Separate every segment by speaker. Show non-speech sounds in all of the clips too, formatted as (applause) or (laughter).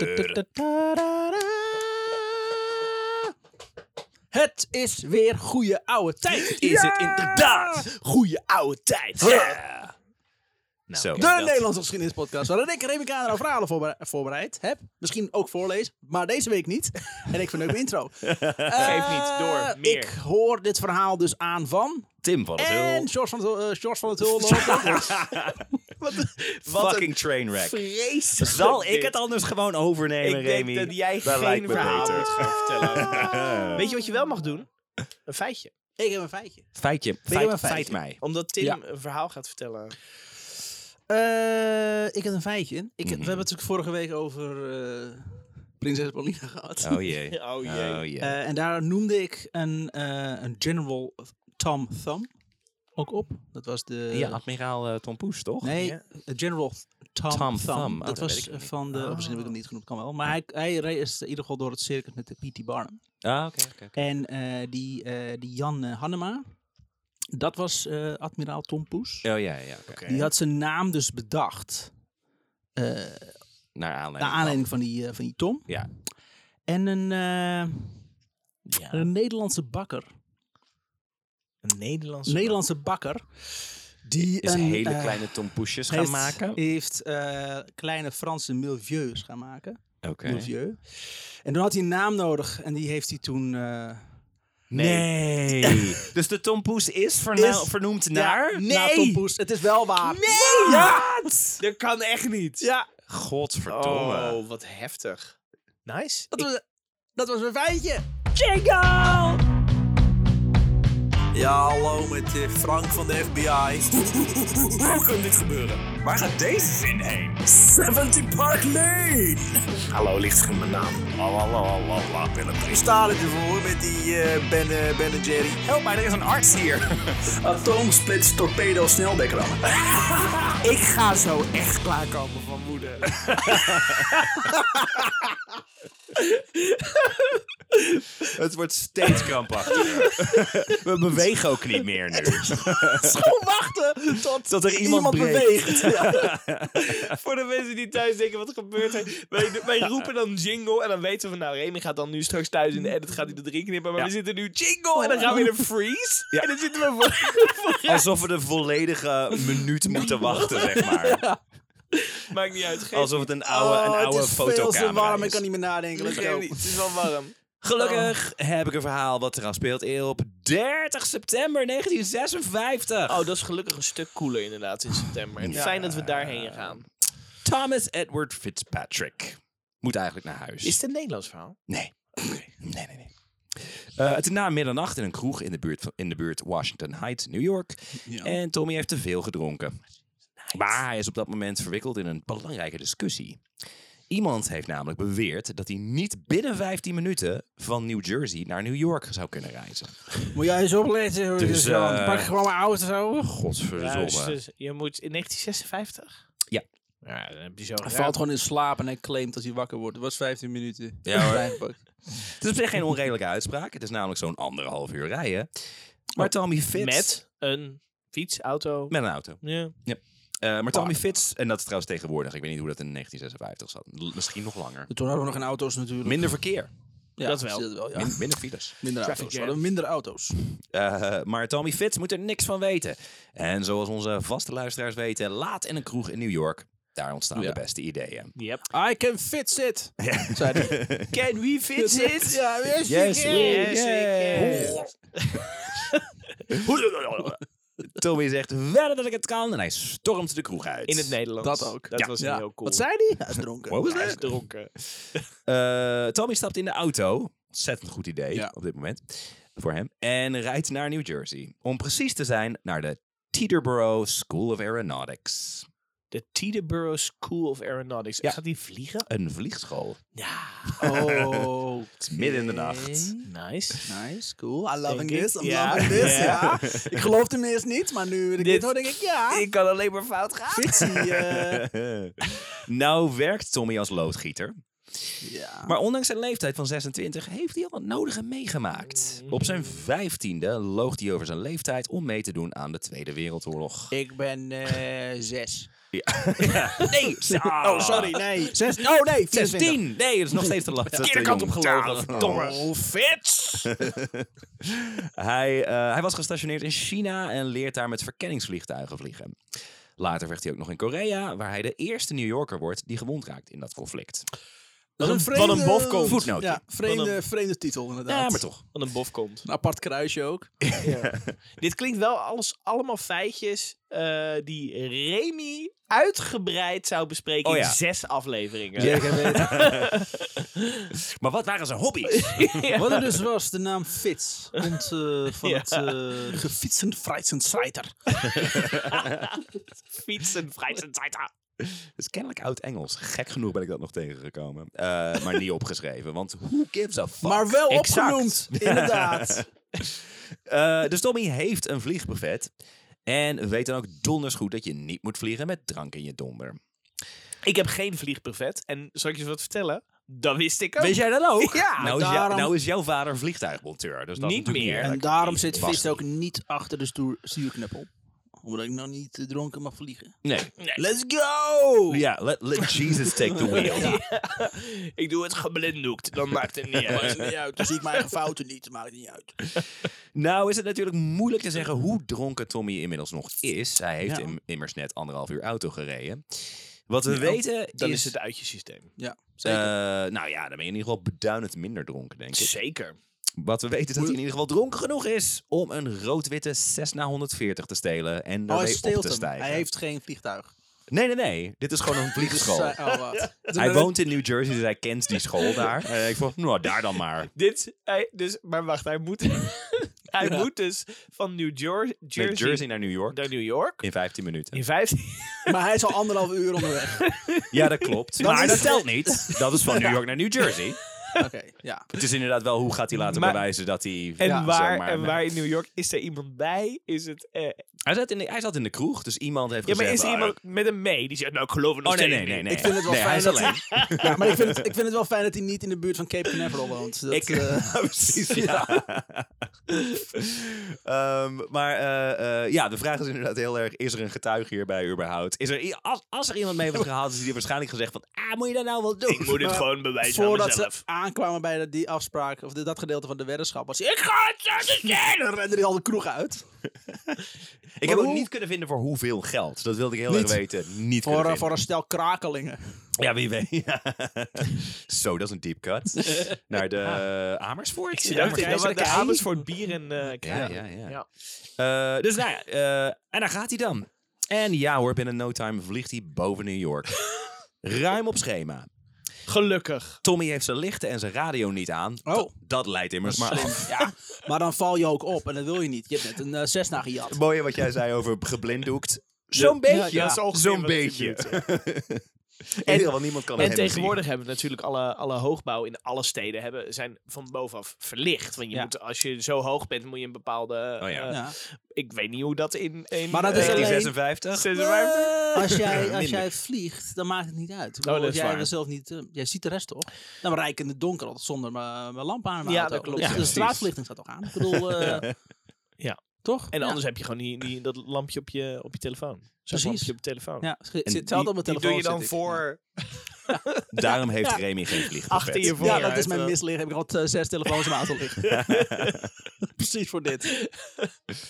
Speaker 1: gebeuren.
Speaker 2: Het is weer goede oude tijd.
Speaker 1: Is het
Speaker 2: Nou,
Speaker 1: inderdaad?
Speaker 2: Goede oude tijd.
Speaker 1: Nou,
Speaker 3: Zo.
Speaker 1: kijk,
Speaker 2: De
Speaker 1: dat-
Speaker 3: (laughs)
Speaker 2: Nederlandse geschiedenispodcast waarin ik Remy Kader verhalen voorbere- voorbereid heb. Misschien ook voorlees, maar deze week niet. (laughs) En ik verneuk mijn intro. (laughs) Geef
Speaker 4: niet, door, meer.
Speaker 2: Eh, Ik hoor dit verhaal dus aan van...
Speaker 1: Tim van het
Speaker 2: En
Speaker 1: Hul.
Speaker 2: George van, het- eh, George van het
Speaker 3: (laughs)
Speaker 2: Hul. loopt ook. (laughs) Wat een-
Speaker 3: Wat
Speaker 1: Fucking trainwreck.
Speaker 2: Vreselijk.
Speaker 3: Zal
Speaker 4: dit.
Speaker 3: ik het anders gewoon overnemen,
Speaker 4: Ik
Speaker 3: Remy?
Speaker 4: denk dat jij
Speaker 3: Dat lijkt
Speaker 4: geen
Speaker 3: me
Speaker 4: verhaal
Speaker 3: beter.
Speaker 4: moet gaan
Speaker 3: (laughs)
Speaker 4: vertellen. Weet je wat je wel mag doen? Een feitje.
Speaker 2: Ik heb een feitje.
Speaker 3: Feitje.
Speaker 2: je
Speaker 3: Feit,
Speaker 2: een feitje?
Speaker 3: feit mij.
Speaker 4: Omdat Tim
Speaker 2: Ja.
Speaker 4: een verhaal gaat vertellen.
Speaker 2: Eh, ik heb een feitje. Ik, We hebben het natuurlijk vorige week over eh, Prinses Paulina gehad.
Speaker 3: Oh jee.
Speaker 4: (laughs) (laughs) Oh
Speaker 3: Oh jee.
Speaker 2: Eh, en daar noemde ik een, eh, een General Tom Thumb ook op. Dat was de...
Speaker 3: ja, admiraal eh, Tom Poes, toch?
Speaker 2: Nee,
Speaker 4: Ja.
Speaker 2: eh, General Tom,
Speaker 3: Tom
Speaker 2: Thumb.
Speaker 3: Thumb. Oh,
Speaker 2: Dat
Speaker 3: dat weet
Speaker 2: was
Speaker 3: ik
Speaker 2: eh,
Speaker 3: niet.
Speaker 2: van de... Oh. Misschien heb ik hem niet genoemd, kan wel. Maar hij, hij reed in ieder geval door het circus met de P.T. Barnum.
Speaker 3: Ah, oké. oké, oké.
Speaker 2: En eh, die, eh, die Jan eh, Hannema, dat was eh, admiraal Tom Poes.
Speaker 3: Oh ja, ja. oké.
Speaker 2: Die had zijn naam dus bedacht. eh,
Speaker 3: Naar
Speaker 2: Naar
Speaker 3: aanleiding.
Speaker 2: aanleiding van die, eh, van die Tom.
Speaker 3: Ja.
Speaker 2: En een, eh,
Speaker 3: van- Ja.
Speaker 2: een Nederlandse bakker.
Speaker 4: Een Nederlandse
Speaker 2: Een Nederlandse bakker. Die
Speaker 3: Is
Speaker 2: een,
Speaker 3: hele
Speaker 2: eh,
Speaker 3: kleine Tom Poesjes
Speaker 2: heeft,
Speaker 3: gaan maken.
Speaker 2: Heeft eh, kleine Franse milieus gaan maken.
Speaker 3: Oké.
Speaker 2: Milieu. En toen had hij een naam nodig. En die heeft hij toen... eh,
Speaker 3: Nee. (laughs)
Speaker 2: (laughs)
Speaker 3: dus de Tom Poes is, verna-
Speaker 2: Is-
Speaker 3: vernoemd
Speaker 2: ja,
Speaker 3: naar?
Speaker 2: naar Tom Poes. Het is wel waar.
Speaker 3: Nee!
Speaker 4: bakker. Dat kan echt niet.
Speaker 2: Ja.
Speaker 3: Godverdomme.
Speaker 4: Oh, wat heftig. Nice.
Speaker 2: Dat, was, dat was mijn feitje.
Speaker 5: Ja, hallo met eh, Frank van de FBI. (laughs) Hoe kan dit gebeuren? Waar gaat deze zin heen? 70 Park Lane! Hallo, ligt in mijn naam. Lalalala, Willem. Ik sta er dus voor met die eh, ben, eh, ben en Jerry. Help mij, er is een arts hier. (laughs) Atoomsplits torpedo (laughs) sneldekker. Ik ga zo echt klaarkomen van moeder.
Speaker 3: Het wordt steeds
Speaker 2: (laughs)
Speaker 3: krampachtiger. We bewegen ook niet meer nu.
Speaker 2: Gewoon wachten tot,
Speaker 3: Dat er iemand
Speaker 2: iemand
Speaker 3: breekt.
Speaker 2: beweegt.
Speaker 4: Voor de mensen die thuis denken wat er gebeurt. is, Wij,
Speaker 3: (laughs)
Speaker 4: wij roepen dan jingle en dan weten we van nou Remy gaat dan nu straks thuis in de edit gaat hij dat erin knippen. Maar
Speaker 3: Ja.
Speaker 4: we zitten nu jingle en dan gaan we in een freeze.
Speaker 3: Ja.
Speaker 4: En dan zitten we voor...
Speaker 2: (laughs)
Speaker 3: Alsof we de volledige minuut moeten wachten, zeg
Speaker 2: (laughs)
Speaker 3: maar.
Speaker 4: (laughs) Maakt niet uit. Geef
Speaker 3: Alsof het een oude, een
Speaker 2: Oh,
Speaker 3: oude
Speaker 2: het is veel te warm.
Speaker 3: fotocamera
Speaker 2: Ik
Speaker 3: is.
Speaker 2: kan niet meer nadenken. Let's
Speaker 4: Geef
Speaker 2: go.
Speaker 4: niet. Het is wel warm.
Speaker 3: Gelukkig
Speaker 4: Oh.
Speaker 3: heb ik een verhaal wat eraan speelt eer op 30 september 1956.
Speaker 4: Oh, dat is gelukkig een stuk cooler inderdaad in september. En Fijn dat we daarheen gaan.
Speaker 3: Thomas Edward Fitzpatrick moet eigenlijk naar huis.
Speaker 4: Is het een Nederlands verhaal?
Speaker 3: Nee. Nee, nee, nee. Eh, het is na middernacht in een kroeg in de buurt, van- in de buurt Washington Heights, New York. En Tommy heeft te veel gedronken. Maar hij is op dat moment verwikkeld in een belangrijke discussie. Iemand heeft namelijk beweerd dat hij niet binnen 15 minuten van New Jersey naar New York zou kunnen reizen.
Speaker 2: Moet jij eens opletten. hoor.
Speaker 3: Dus,
Speaker 2: Dus, eh,
Speaker 3: eh,
Speaker 2: pak gewoon mijn auto.
Speaker 3: Godverdomme.
Speaker 4: dus, je moet in 1956?
Speaker 3: Ja.
Speaker 4: Ja, dan heb je zo
Speaker 2: Hij
Speaker 4: gedaan.
Speaker 2: valt gewoon in slaap en hij claimt dat hij wakker wordt. Het was 15 minuten.
Speaker 3: Ja, hoor.
Speaker 2: Eigenlijk.
Speaker 3: Het is op zich geen onredelijke uitspraak. Het is namelijk zo'n anderhalf uur rijden. Maar Tommy Fitz...
Speaker 4: Oh, Met een fiets, auto.
Speaker 3: Met een auto.
Speaker 4: Ja.
Speaker 3: Eh, maar Tommy Fitz, en dat is trouwens tegenwoordig. Ik weet niet hoe dat in 1956 zat. L- misschien nog langer.
Speaker 2: Toen hadden we nog geen auto's natuurlijk.
Speaker 3: Minder verkeer.
Speaker 2: Ja,
Speaker 4: dat wel.
Speaker 2: ja.
Speaker 3: Min- minder files.
Speaker 2: Minder
Speaker 4: Traffic
Speaker 2: auto's. We
Speaker 4: jam.
Speaker 2: hadden minder auto's.
Speaker 3: Eh, maar Tommy Fitz moet er niks van weten. En zoals onze vaste luisteraars weten, laat in een kroeg in New York. Daar ontstaan
Speaker 2: Ja.
Speaker 3: de beste ideeën.
Speaker 4: Yep.
Speaker 2: I can fix it. Zei hij.
Speaker 4: Can we fit it?
Speaker 2: (laughs) Ja,
Speaker 3: Yes,
Speaker 2: yes, yes,
Speaker 3: we-
Speaker 4: Yes, we
Speaker 3: (laughs) Tommy zegt verder dat ik het kan. En hij stormt de kroeg uit.
Speaker 4: In het Nederlands.
Speaker 2: Dat ook.
Speaker 4: Dat
Speaker 3: Ja.
Speaker 4: was
Speaker 2: Ja.
Speaker 4: heel cool.
Speaker 2: Wat zei hij? Hij is dronken.
Speaker 3: What was
Speaker 4: Hij
Speaker 3: that?
Speaker 4: is dronken.
Speaker 3: Eh, Tommy stapt in de auto. Ontzettend goed idee
Speaker 2: Ja.
Speaker 3: op dit moment voor hem. En rijdt naar New Jersey. Om precies te zijn naar de Teterboro School of Aeronautics.
Speaker 4: De Teterboro School of Aeronautics.
Speaker 3: Ja.
Speaker 4: Gaat die vliegen?
Speaker 3: Een vliegschool.
Speaker 4: Ja. (laughs)
Speaker 2: Oh. Het
Speaker 3: is midden in de nacht.
Speaker 4: Nice.
Speaker 2: Nice, cool. I'm loving
Speaker 4: Denk ik.
Speaker 2: this, I'm
Speaker 4: Ja.
Speaker 2: loving this.
Speaker 4: (laughs) Ja.
Speaker 2: Ja. Ik geloofde hem eerst niet, maar nu ik dit,
Speaker 4: Dit-
Speaker 2: hoor, denk ik ja.
Speaker 4: Ik kan alleen maar fout gaan.
Speaker 2: Fictie.
Speaker 4: (laughs)
Speaker 2: eh,
Speaker 3: (laughs) nou werkt Tommy als loodgieter.
Speaker 2: ja.
Speaker 3: Maar ondanks zijn leeftijd van 26 heeft hij al het nodige meegemaakt. Op zijn 15e
Speaker 2: (laughs)
Speaker 3: loog hij over zijn leeftijd om mee te doen aan de Tweede Wereldoorlog.
Speaker 2: Ik ben eh, zes.
Speaker 3: Nee!
Speaker 2: Oh, sorry, nee. (laughs) Zes, oh, nee, 24.
Speaker 3: 16! Nee, dat is nog steeds
Speaker 2: (laughs)
Speaker 3: te laat.
Speaker 4: Verkeerde kant op gelopen.
Speaker 3: Domme.
Speaker 4: Domme. Fits!
Speaker 3: Hij, eh, hij was gestationeerd in China en leert daar met verkenningsvliegtuigen vliegen. Later werd hij ook nog in Korea, waar hij de eerste New Yorker wordt die gewond raakt in dat conflict.
Speaker 2: Dat is
Speaker 4: Wat een- wat een bof komt.
Speaker 3: Voetnootje.
Speaker 2: Ja,
Speaker 4: Wat
Speaker 2: vreemde,
Speaker 4: een-
Speaker 2: vreemde titel inderdaad.
Speaker 3: Ja, maar toch.
Speaker 4: Wat een bof komt.
Speaker 2: Een apart kruisje ook.
Speaker 4: Dit klinkt wel alles, allemaal feitjes eh, die Remy uitgebreid zou bespreken
Speaker 3: Oh ja.
Speaker 4: in zes afleveringen. (laughs)
Speaker 3: (laughs) Maar wat waren zijn hobby's? (laughs)
Speaker 2: Wat er dus was, de naam Fitz. Komt eh, van
Speaker 4: Ja.
Speaker 2: het eh gefietsen, frijdsen, slijter.
Speaker 4: Fietsen, vrijzen, zeiter.
Speaker 3: Dat is kennelijk oud-Engels. Gek genoeg ben ik dat nog tegengekomen. Eh, maar niet opgeschreven, want who gives a fuck?
Speaker 2: Maar wel
Speaker 4: exact.
Speaker 2: opgenoemd, (laughs) inderdaad.
Speaker 3: Eh, dus Tommy heeft een vliegbuffet. En weet dan ook donders goed dat je niet moet vliegen met drank in je donder.
Speaker 4: Ik heb geen vliegbuffet. En zal ik je eens wat vertellen? Dat wist ik ook.
Speaker 3: Weet jij dat ook?
Speaker 4: Ja,
Speaker 3: nou, is jou-
Speaker 2: daarom-
Speaker 3: nou is jouw vader vliegtuigmonteur. Dus dat is
Speaker 4: Niet
Speaker 3: natuurlijk
Speaker 4: meer.
Speaker 3: eerlijk.
Speaker 2: en daarom
Speaker 3: Niet
Speaker 2: zit
Speaker 3: was
Speaker 2: Fitz ook
Speaker 3: niet.
Speaker 2: niet achter de stoer, stuurknuppel. Omdat ik nog niet eh, dronken mag vliegen.
Speaker 3: Nee.
Speaker 2: Let's go!
Speaker 3: Ja, let, let Jesus take the
Speaker 2: (laughs)
Speaker 3: wheel.
Speaker 4: Ik doe het geblinddoekt. Dan maakt het
Speaker 3: (laughs)
Speaker 4: niet
Speaker 2: Maakt
Speaker 4: uit.
Speaker 2: niet uit. Dan zie ik mijn eigen fouten niet. Maakt niet uit.
Speaker 3: Nou is het natuurlijk moeilijk te zeggen hoe dronken Tommy inmiddels nog is. Hij heeft
Speaker 2: Ja. Nou,
Speaker 3: im- immers net anderhalf uur auto gereden. Wat we weten
Speaker 4: Dan
Speaker 3: is...
Speaker 4: is het uit je systeem.
Speaker 2: Ja,
Speaker 3: eh,
Speaker 2: zeker.
Speaker 3: nou ja, dan ben je in ieder geval beduidend minder dronken, denk ik.
Speaker 4: Zeker.
Speaker 3: Wat we weten is dat hij in ieder geval dronken genoeg is om een rood-witte Cessna 140 te stelen en
Speaker 2: oh, hij
Speaker 3: daarmee op
Speaker 2: steelt
Speaker 3: te
Speaker 2: hem.
Speaker 3: stijgen.
Speaker 2: Hij heeft geen vliegtuig.
Speaker 3: Nee, nee, nee. Dit is
Speaker 2: (laughs)
Speaker 3: gewoon een
Speaker 2: Dus,
Speaker 3: vliegschool.
Speaker 2: eh, oh, wat.
Speaker 3: Hij woont in New Jersey, dus hij kent die school daar. En ik vond, nou, daar dan maar.
Speaker 4: Dit, hij, dus, maar wacht, hij moet, (laughs) hij
Speaker 2: Ja.
Speaker 4: moet dus van New Jer- Jersey,
Speaker 3: Jersey. Jersey naar New York
Speaker 4: naar New York
Speaker 3: in 15 minuten.
Speaker 4: in 15.
Speaker 2: Maar hij is al anderhalf uur
Speaker 4: (laughs)
Speaker 2: onderweg.
Speaker 3: Ja, dat klopt. maar dat telt niet. Dat is van New York naar New Jersey.
Speaker 2: Oké, ja.
Speaker 3: Het is inderdaad wel hoe gaat hij laten
Speaker 4: Maar-
Speaker 3: bewijzen dat hij.
Speaker 4: En,
Speaker 3: zeg
Speaker 4: (laughs) waar,
Speaker 3: maar,
Speaker 4: en
Speaker 3: nee.
Speaker 4: waar in New York is er iemand bij? Is het. eh,
Speaker 3: Hij zat, in de, hij zat in de kroeg, dus iemand heeft
Speaker 4: ja, maar
Speaker 3: gezegd.
Speaker 4: is er
Speaker 3: "Ah,
Speaker 4: iemand met hem mee die zegt: Nou, ik geloof het nog
Speaker 3: Oh nee,
Speaker 4: steeds
Speaker 3: nee, nee,
Speaker 4: niet."
Speaker 3: nee.
Speaker 2: Ik vind het wel
Speaker 3: Nee,
Speaker 2: fijn
Speaker 3: Hij
Speaker 2: dat
Speaker 3: is alleen.
Speaker 2: ja maar ik vind, het, ik vind het wel fijn dat hij niet in de buurt van Cape Canaveral woont. Dat,
Speaker 3: Ik,
Speaker 2: eh,
Speaker 3: (laughs)
Speaker 4: (laughs)
Speaker 3: Ja, precies, ja. (laughs) Ehm, maar eh, eh, ja, de vraag is inderdaad heel erg, is er een getuige hierbij überhaupt? Is er, i- als, als er iemand mee wordt gehaald, is die waarschijnlijk gezegd van, ah, moet je dat nou wel doen?
Speaker 4: Ik moet het
Speaker 2: Maar
Speaker 4: gewoon bewijzen aan
Speaker 2: voordat ze
Speaker 4: mezelf.
Speaker 2: aankwamen bij dat- die afspraak, of de- dat gedeelte van de weddenschap, was hij, ik ga het zeggen! En dan rende hij al de kroeg uit.
Speaker 3: ik heb
Speaker 2: Maar
Speaker 3: ook
Speaker 2: hoe-
Speaker 3: niet kunnen vinden voor hoeveel geld. Dat wilde ik heel
Speaker 2: Niet.
Speaker 3: erg weten. Niet kunnen
Speaker 2: Voor, eh,
Speaker 3: vinden.
Speaker 2: voor een stel krakelingen.
Speaker 3: Ja, wie weet. (laughs) Ja. Zo, dat is een deep
Speaker 4: (laughs)
Speaker 3: cut. Naar de eh, Amersfoort.
Speaker 4: Ah. Ik zit
Speaker 3: Ja,
Speaker 4: ook te
Speaker 3: Martijn
Speaker 4: denken, de
Speaker 3: Zonnekei.
Speaker 4: Abends voor bier en eh
Speaker 3: Ja,
Speaker 4: kraak.
Speaker 3: ja, ja.
Speaker 4: Ja.
Speaker 3: Eh, dus nou ja, eh, en daar gaat hij dan. En ja hoor, binnen no time vliegt hij boven New
Speaker 2: (laughs)
Speaker 3: York. Ruim op schema.
Speaker 4: Gelukkig.
Speaker 3: Tommy heeft zijn lichten en zijn radio niet aan.
Speaker 2: Oh.
Speaker 3: Dat, dat leidt immers maar
Speaker 2: Slim.
Speaker 3: af.
Speaker 2: Ja, maar dan val je ook op en dat wil je niet. Je hebt net een eh, Cessna gejat.
Speaker 3: Het (laughs) mooie wat jij zei over geblinddoekt. Zo'n beetje.
Speaker 2: ja, dat is
Speaker 3: Zo'n beetje.
Speaker 2: (laughs)
Speaker 3: In ieder geval, niemand kan
Speaker 4: En
Speaker 3: hem zien.
Speaker 4: tegenwoordig hebben we natuurlijk alle, alle hoogbouw in alle steden hebben, zijn van bovenaf verlicht. Want je
Speaker 2: Ja.
Speaker 4: moet, als je zo hoog bent, moet je een bepaalde...
Speaker 3: Oh ja.
Speaker 4: eh,
Speaker 2: Ja.
Speaker 4: Ik weet niet hoe dat in... in
Speaker 2: Maar dat is
Speaker 4: eh,
Speaker 2: alleen-
Speaker 3: 1956.
Speaker 4: 56?
Speaker 2: Als jij, als
Speaker 3: minder.
Speaker 2: jij vliegt, dan maakt het niet uit. Ik
Speaker 4: Oh, dat
Speaker 2: bedoel, als
Speaker 4: is
Speaker 2: jij
Speaker 4: waar.
Speaker 2: er zelf niet, eh, jij ziet de rest toch? Nou, maar rij ik in het donker altijd zonder mijn mijn lamp aan. in mijn
Speaker 4: Ja,
Speaker 2: auto.
Speaker 4: dat klopt.
Speaker 2: Dus
Speaker 4: Ja,
Speaker 2: de
Speaker 3: precies.
Speaker 2: straatverlichting staat toch aan? Ik bedoel, eh,
Speaker 4: (laughs) Ja.
Speaker 2: Toch?
Speaker 4: En
Speaker 2: Ja.
Speaker 4: anders heb je gewoon die, die, dat lampje op je, op je telefoon. Zo'n
Speaker 2: Precies.
Speaker 4: lampje op je telefoon.
Speaker 2: Ja, schi-
Speaker 3: En
Speaker 2: zit hetzelfde op mijn telefoon.
Speaker 4: die doe je dan
Speaker 2: zit ik. Ja.
Speaker 4: voor...
Speaker 3: Daarom heeft
Speaker 2: Ja.
Speaker 3: Remy geen vliegtuig.
Speaker 4: Achter je voor.
Speaker 2: Ja, dat is mijn
Speaker 4: uit,
Speaker 2: misliggen. Heb ik al eh, zes telefoons in mijn auto liggen.
Speaker 4: (laughs)
Speaker 2: Precies voor dit.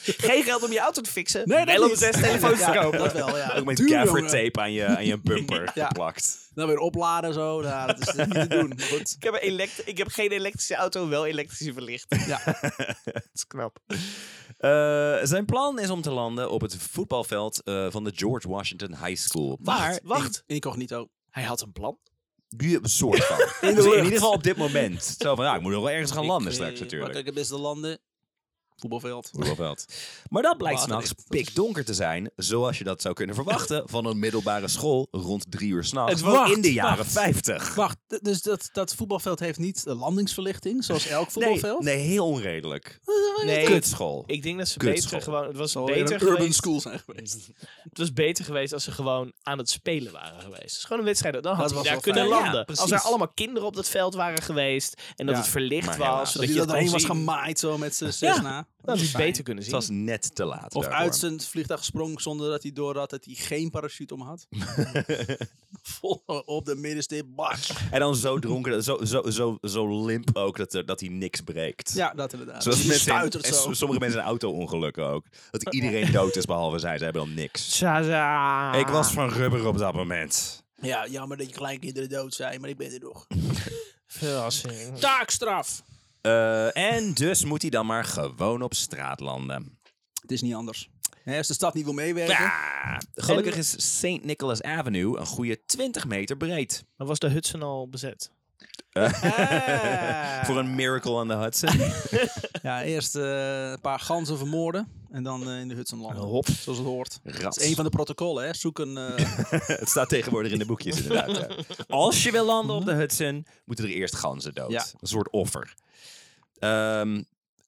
Speaker 4: Geen geld om je auto te fixen.
Speaker 2: Nee, dat
Speaker 4: wel om
Speaker 2: niet.
Speaker 4: zes telefoons
Speaker 2: Ja,
Speaker 4: te kopen.
Speaker 2: Dat wel, ja.
Speaker 3: Ook met
Speaker 2: Duur,
Speaker 3: gaffer
Speaker 2: jongen.
Speaker 3: tape aan je, aan je bumper
Speaker 2: (laughs) Ja.
Speaker 3: geplakt.
Speaker 2: Dan weer opladen zo. Nou, dat is niet te doen. Maar goed.
Speaker 4: Ik heb, een elekt- ik heb geen elektrische auto, wel elektrische verlichting.
Speaker 2: Ja.
Speaker 4: Dat is knap.
Speaker 3: Eh, zijn plan is om te landen op het voetbalveld eh, van de George Washington High School. Maar,
Speaker 4: (laughs) Wacht, wacht.
Speaker 2: Incognito.
Speaker 4: Hij had een plan.
Speaker 3: die een soort (laughs) van.
Speaker 2: de
Speaker 3: Dus in
Speaker 2: lucht.
Speaker 3: ieder geval op dit (laughs) moment. Zo van, ja, ik moet nog wel ergens gaan landen
Speaker 2: Ik, eh,
Speaker 3: straks
Speaker 2: Waar kan
Speaker 3: natuurlijk.
Speaker 2: ik het beste landen? Voetbalveld.
Speaker 3: Voetbalveld. Maar dat blijkt
Speaker 2: Water
Speaker 3: s'nachts
Speaker 2: is-
Speaker 3: pikdonker te zijn, zoals je dat zou kunnen verwachten van een middelbare school rond drie uur
Speaker 4: Het
Speaker 3: s'nachts
Speaker 4: was-
Speaker 3: in de jaren
Speaker 2: wacht.
Speaker 3: 50.
Speaker 2: Wacht, d- dus dat, dat voetbalveld heeft niet de landingsverlichting, zoals elk
Speaker 3: Nee,
Speaker 2: voetbalveld? Oh,
Speaker 3: nee, heel onredelijk.
Speaker 4: Nee.
Speaker 3: Kutschool.
Speaker 4: Ik denk dat ze
Speaker 3: Kutschool.
Speaker 4: beter gewoon... Het was,
Speaker 2: Zal weer
Speaker 4: beter
Speaker 2: Oh, een urban
Speaker 4: geweest,
Speaker 2: school zijn geweest.
Speaker 4: het was beter geweest als ze gewoon aan het spelen waren geweest. Het is gewoon een wedstrijd. Dan had
Speaker 2: Dat
Speaker 4: hij
Speaker 2: was
Speaker 4: daar
Speaker 2: wel
Speaker 4: kunnen
Speaker 2: fijn.
Speaker 4: landen.
Speaker 2: Ja,
Speaker 4: als
Speaker 2: precies.
Speaker 4: er allemaal kinderen op dat veld waren geweest... en dat
Speaker 2: Ja.
Speaker 4: het verlicht
Speaker 3: Maar
Speaker 4: was,
Speaker 3: helaas.
Speaker 4: zodat
Speaker 2: Dat
Speaker 4: je
Speaker 2: hij
Speaker 4: het
Speaker 2: dat
Speaker 4: kon
Speaker 2: erheen was
Speaker 4: zien.
Speaker 2: gemaaid zo met z'n zes na. Ja.
Speaker 4: Dat is beter kunnen
Speaker 3: Het
Speaker 4: zien.
Speaker 3: was net te laat.
Speaker 2: Of
Speaker 3: daarvoor.
Speaker 2: uit zijn vliegtuig sprong zonder dat hij door had dat hij geen parachute om had. Vol op de middenstip. Bas.
Speaker 3: En dan zo dronken, zo, zo, zo, zo limp ook, dat, er, dat hij niks breekt.
Speaker 2: Ja, dat inderdaad.
Speaker 3: Zoals
Speaker 2: Die
Speaker 3: mensen in-
Speaker 2: stuitert
Speaker 3: en
Speaker 2: zo.
Speaker 3: so- sommige mensen in auto-ongelukken ook. Dat iedereen dood is behalve zij. Ze hebben dan niks. (laughs)
Speaker 4: Zaza.
Speaker 3: Ik was van rubber op dat moment.
Speaker 2: Ja, jammer dat je kleinkinderen dood zijn, maar ik ben er nog.
Speaker 4: Verrassing.
Speaker 2: Taakstraf!
Speaker 3: Eh, en dus moet hij dan maar gewoon op straat landen.
Speaker 2: Het is niet anders. Hè, als de stad niet wil meewerken.
Speaker 3: Ja, gelukkig is St. Nicholas Avenue een goede 20 meter breed.
Speaker 4: Dan was de Hudson al bezet.
Speaker 3: (laughs)
Speaker 2: Ah.
Speaker 3: Voor een miracle on the (laughs) Hudson.
Speaker 2: Ja, eerst eh, een paar ganzen vermoorden en dan eh, in de Hudson landen.
Speaker 3: Hop.
Speaker 2: Zoals het hoort. Dat
Speaker 3: Rats.
Speaker 2: is een van de protocollen, hè. Zoek een...
Speaker 3: (laughs)
Speaker 2: eh,
Speaker 3: Het staat tegenwoordig in de boekjes inderdaad. ja. Als je wil landen op de Hudson, moeten er eerst ganzen dood.
Speaker 2: Ja.
Speaker 3: Een soort offer. Ehm,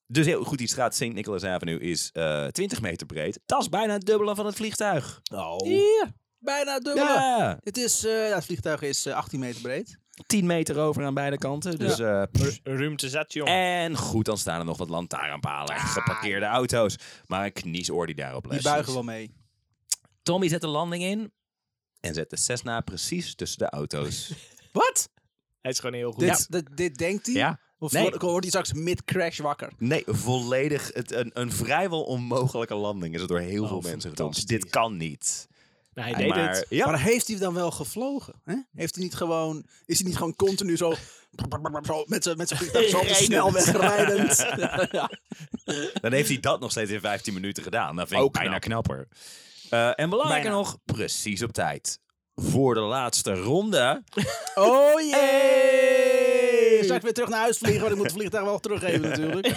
Speaker 3: dus heel goed, die straat St. Nicholas Avenue is eh 20 meter breed. Dat is bijna het dubbele van het vliegtuig.
Speaker 2: Nou. Hier! Bijna het dubbele.
Speaker 3: Oh. Ja,
Speaker 2: Het, is, eh, ja, het vliegtuig is eh, 18 meter breed.
Speaker 3: 10 meter over aan beide kanten. Dus, eh, pff.
Speaker 4: Ruimte zat, jong.
Speaker 3: en goed, dan staan er nog wat lantaarnpalen en geparkeerde auto's. Maar een kniesoor die daarop les
Speaker 2: Die buigen wel mee.
Speaker 3: Tommy zet de landing in en zet de Cessna precies tussen de
Speaker 2: (laughs)
Speaker 3: auto's.
Speaker 2: Wat?
Speaker 4: Hij is gewoon heel goed.
Speaker 2: Dit, dit, dit denkt hij?
Speaker 3: ja?
Speaker 2: Of
Speaker 3: Nee.
Speaker 2: wordt wordt hij straks mid-crash wakker?
Speaker 3: Nee, volledig. Het, een, een vrijwel onmogelijke landing is het door heel veel mensen gedaan. Dus Dit kan niet.
Speaker 4: Ja, Oh, hij deed
Speaker 3: maar,
Speaker 4: het.
Speaker 3: Ja,
Speaker 2: Maar heeft hij dan wel gevlogen? Hè? Heeft hij niet gewoon, is hij niet gewoon continu zo, zo met zijn met zijn vliegtuig
Speaker 3: (laughs)
Speaker 2: zo op de
Speaker 4: Rijdend.
Speaker 2: snelweg rijdend? ja.
Speaker 3: dan heeft hij dat nog steeds in 15 minuten gedaan. Dat vind ik
Speaker 4: Ook
Speaker 3: bijna knapper. Eh, en belangrijker
Speaker 2: Bijna.
Speaker 3: nog, precies op tijd. Voor de laatste ronde.
Speaker 2: Oh jee! Zal ik weer terug naar huis vliegen? Want ik moet het vliegtuig wel teruggeven natuurlijk.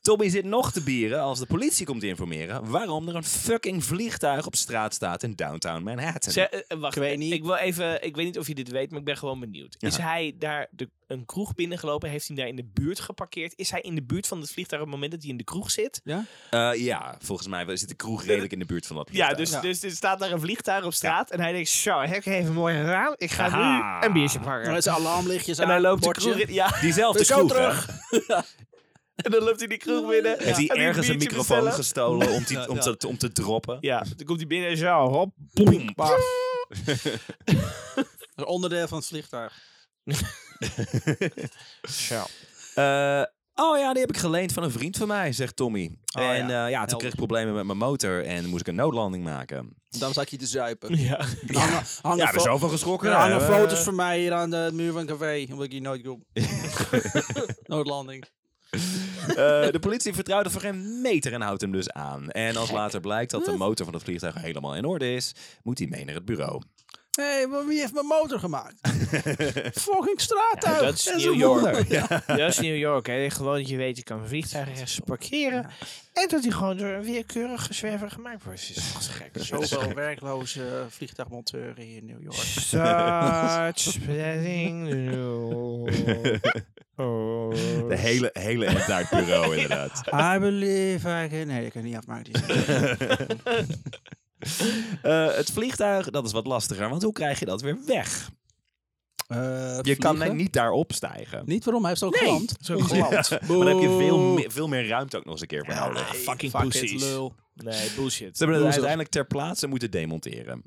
Speaker 3: Tommy zit nog te bieren als de politie komt informeren waarom er een fucking vliegtuig op straat staat in downtown Manhattan.
Speaker 4: Ze- eh, wacht,
Speaker 2: Ik
Speaker 4: ik
Speaker 2: weet niet.
Speaker 4: Ik, wil even, ik weet niet of je dit weet, maar ik ben gewoon benieuwd. Is hij daar de, een kroeg binnengelopen? Heeft hij hem daar in de buurt geparkeerd? Is hij in de buurt van het vliegtuig op het moment dat hij in de kroeg zit?
Speaker 3: Eh, ja, volgens mij zit de kroeg redelijk in de buurt van dat
Speaker 4: Ja,
Speaker 3: vliegtuig.
Speaker 4: dus, dus er staat daar een vliegtuig op straat. En hij denkt, zo, heb ik even mooi raam. Ik ga
Speaker 3: Haha.
Speaker 4: nu een biertje
Speaker 2: Met
Speaker 4: pakken.
Speaker 2: zijn alarmlichtjes
Speaker 4: En
Speaker 2: aan,
Speaker 4: hij loopt de
Speaker 2: bordje.
Speaker 4: kroeg in. Ja, (laughs)
Speaker 3: Diezelfde
Speaker 2: Zo
Speaker 3: kroeg, hè?
Speaker 2: terug.
Speaker 4: en dan loopt hij die kroeg binnen.
Speaker 3: Heeft
Speaker 4: Gaat
Speaker 3: hij
Speaker 4: een
Speaker 3: ergens een
Speaker 4: biertje
Speaker 3: microfoon
Speaker 4: bestellen.
Speaker 3: gestolen (laughs) om, die, om, te, om te droppen?
Speaker 4: Ja, dan komt hij binnen en zo, hop.
Speaker 3: Boem.
Speaker 4: bam.
Speaker 2: Dat is onderdeel van het vliegtuig.
Speaker 3: Eh, oh ja, die heb ik geleend van een vriend van mij, zegt Tommy. en Oh, eh, ja, ja toen kreeg ik problemen met mijn motor en moest ik een noodlanding maken.
Speaker 2: Dan zat je te zuipen.
Speaker 4: Ja.
Speaker 2: Er Hangen, hangen,
Speaker 3: Ja, er
Speaker 2: fo-
Speaker 3: zoveel
Speaker 2: er
Speaker 3: geschrokken.
Speaker 2: hangen
Speaker 3: Eh,
Speaker 2: foto's van mij hier aan de muur van een café, omdat ik hier nooit
Speaker 4: (laughs)
Speaker 2: kom. Noodlanding.
Speaker 3: eh, de politie vertrouwt het voor geen meter en houdt hem dus aan. En als later blijkt dat de motor van het vliegtuig helemaal in orde is, moet hij mee naar het bureau.
Speaker 2: Hé, hey, maar wie heeft mijn motor
Speaker 4: (laughs)
Speaker 2: gemaakt? Fucking straattuig.
Speaker 4: dat is
Speaker 2: een
Speaker 4: New York.
Speaker 2: wonder.
Speaker 4: Dat is New York, hè. Gewoon dat je weet, je kan vliegtuigen ergens parkeren. En dat hij gewoon door een willekeurige zwerver gemaakt wordt. (laughs) Dat is toch gek.
Speaker 2: (laughs) Zoveel werkloze vliegtuigmonteuren hier in New York.
Speaker 4: Start spreading the Oh, news.
Speaker 3: De hele, hele (laughs) end naar het bureau, inderdaad.
Speaker 2: I believe I can... Nee, ik kan niet afmaken. Die
Speaker 4: (laughs)
Speaker 2: zin.
Speaker 3: Eh, het vliegtuig, dat is wat lastiger, want hoe krijg je dat weer weg?
Speaker 2: Eh,
Speaker 3: Je kan
Speaker 2: vliegen?
Speaker 3: niet daarop stijgen.
Speaker 2: Niet waarom, hij heeft ook Oh. nee. geland.
Speaker 4: Zo glad.
Speaker 3: Maar dan heb je veel, meer- veel meer ruimte ook nog eens een keer voor nodig.
Speaker 4: fucking
Speaker 2: fuck
Speaker 4: pussies.
Speaker 2: it, lul.
Speaker 4: Nee,
Speaker 3: Ze
Speaker 4: bullshit.
Speaker 3: hebben het uiteindelijk ter plaatse moeten (laughs) demonteren.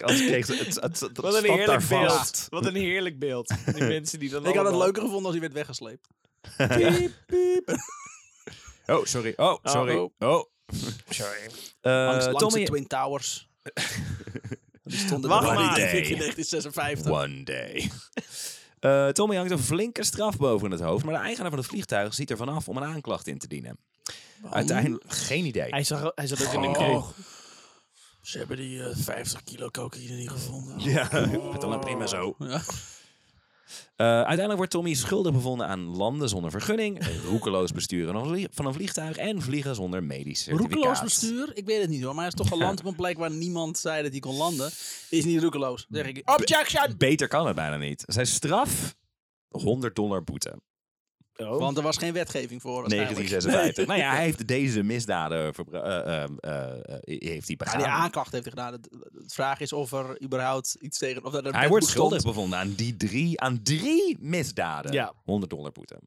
Speaker 3: Als ik kreeg, ze- het, het, het,
Speaker 4: Wat een
Speaker 3: zat daar
Speaker 4: heerlijk
Speaker 3: vast.
Speaker 4: beeld. Wat een heerlijk beeld. Die mensen die dan
Speaker 2: Ik had het
Speaker 4: allemaal-
Speaker 2: leuker gevonden als hij werd weggesleept.
Speaker 3: Oh, sorry. Oh, sorry.
Speaker 2: oh.
Speaker 3: Oh.
Speaker 4: (laughs) Sorry.
Speaker 3: Eh,
Speaker 2: Langs, langs de
Speaker 3: Tommy, (laughs)
Speaker 2: Twin Towers. Die stonden
Speaker 4: Wacht
Speaker 2: er nog
Speaker 4: maar.
Speaker 2: niet, denk ik, in
Speaker 3: Nee.
Speaker 2: 1956.
Speaker 3: one day. (laughs) Eh, Tommy hangt een flinke straf boven het hoofd, maar de eigenaar van het vliegtuig ziet er vanaf om een aanklacht in te dienen. Uiteindelijk, geen idee.
Speaker 4: Hij zag, hij zag ook in
Speaker 3: Oh.
Speaker 4: een kreeg.
Speaker 2: Ze hebben die eh, 50 kilo cocaïne niet gevonden.
Speaker 3: Ja, (laughs) het dan prima zo.
Speaker 2: Ja.
Speaker 3: Eh, uiteindelijk wordt Tommy schuldig bevonden aan landen zonder vergunning, (laughs) roekeloos besturen van een vlie- van een vliegtuig en vliegen zonder medisch certificaat.
Speaker 2: Roekeloos bestuur? Ik weet het niet hoor, maar hij is toch geland op een plek waar niemand zei dat hij kon landen. Is niet roekeloos, zeg ik. Objection!
Speaker 3: Beter kan het bijna niet. Zijn straf? 100 dollar boete.
Speaker 4: Want
Speaker 2: Want er was geen wetgeving voor. waarschijnlijk.
Speaker 3: 1956. nou ja, hij heeft deze misdaden verbra- eh, ehm, eh, eh, heeft hij
Speaker 2: Ja,
Speaker 3: begaan.
Speaker 2: die aanklacht heeft hij gedaan. De vraag is of er überhaupt iets tegen... Of dat er een
Speaker 3: hij wordt
Speaker 2: wetboek stond.
Speaker 3: schuldig bevonden aan die drie, aan drie misdaden.
Speaker 4: Ja.
Speaker 3: 100 dollar boete.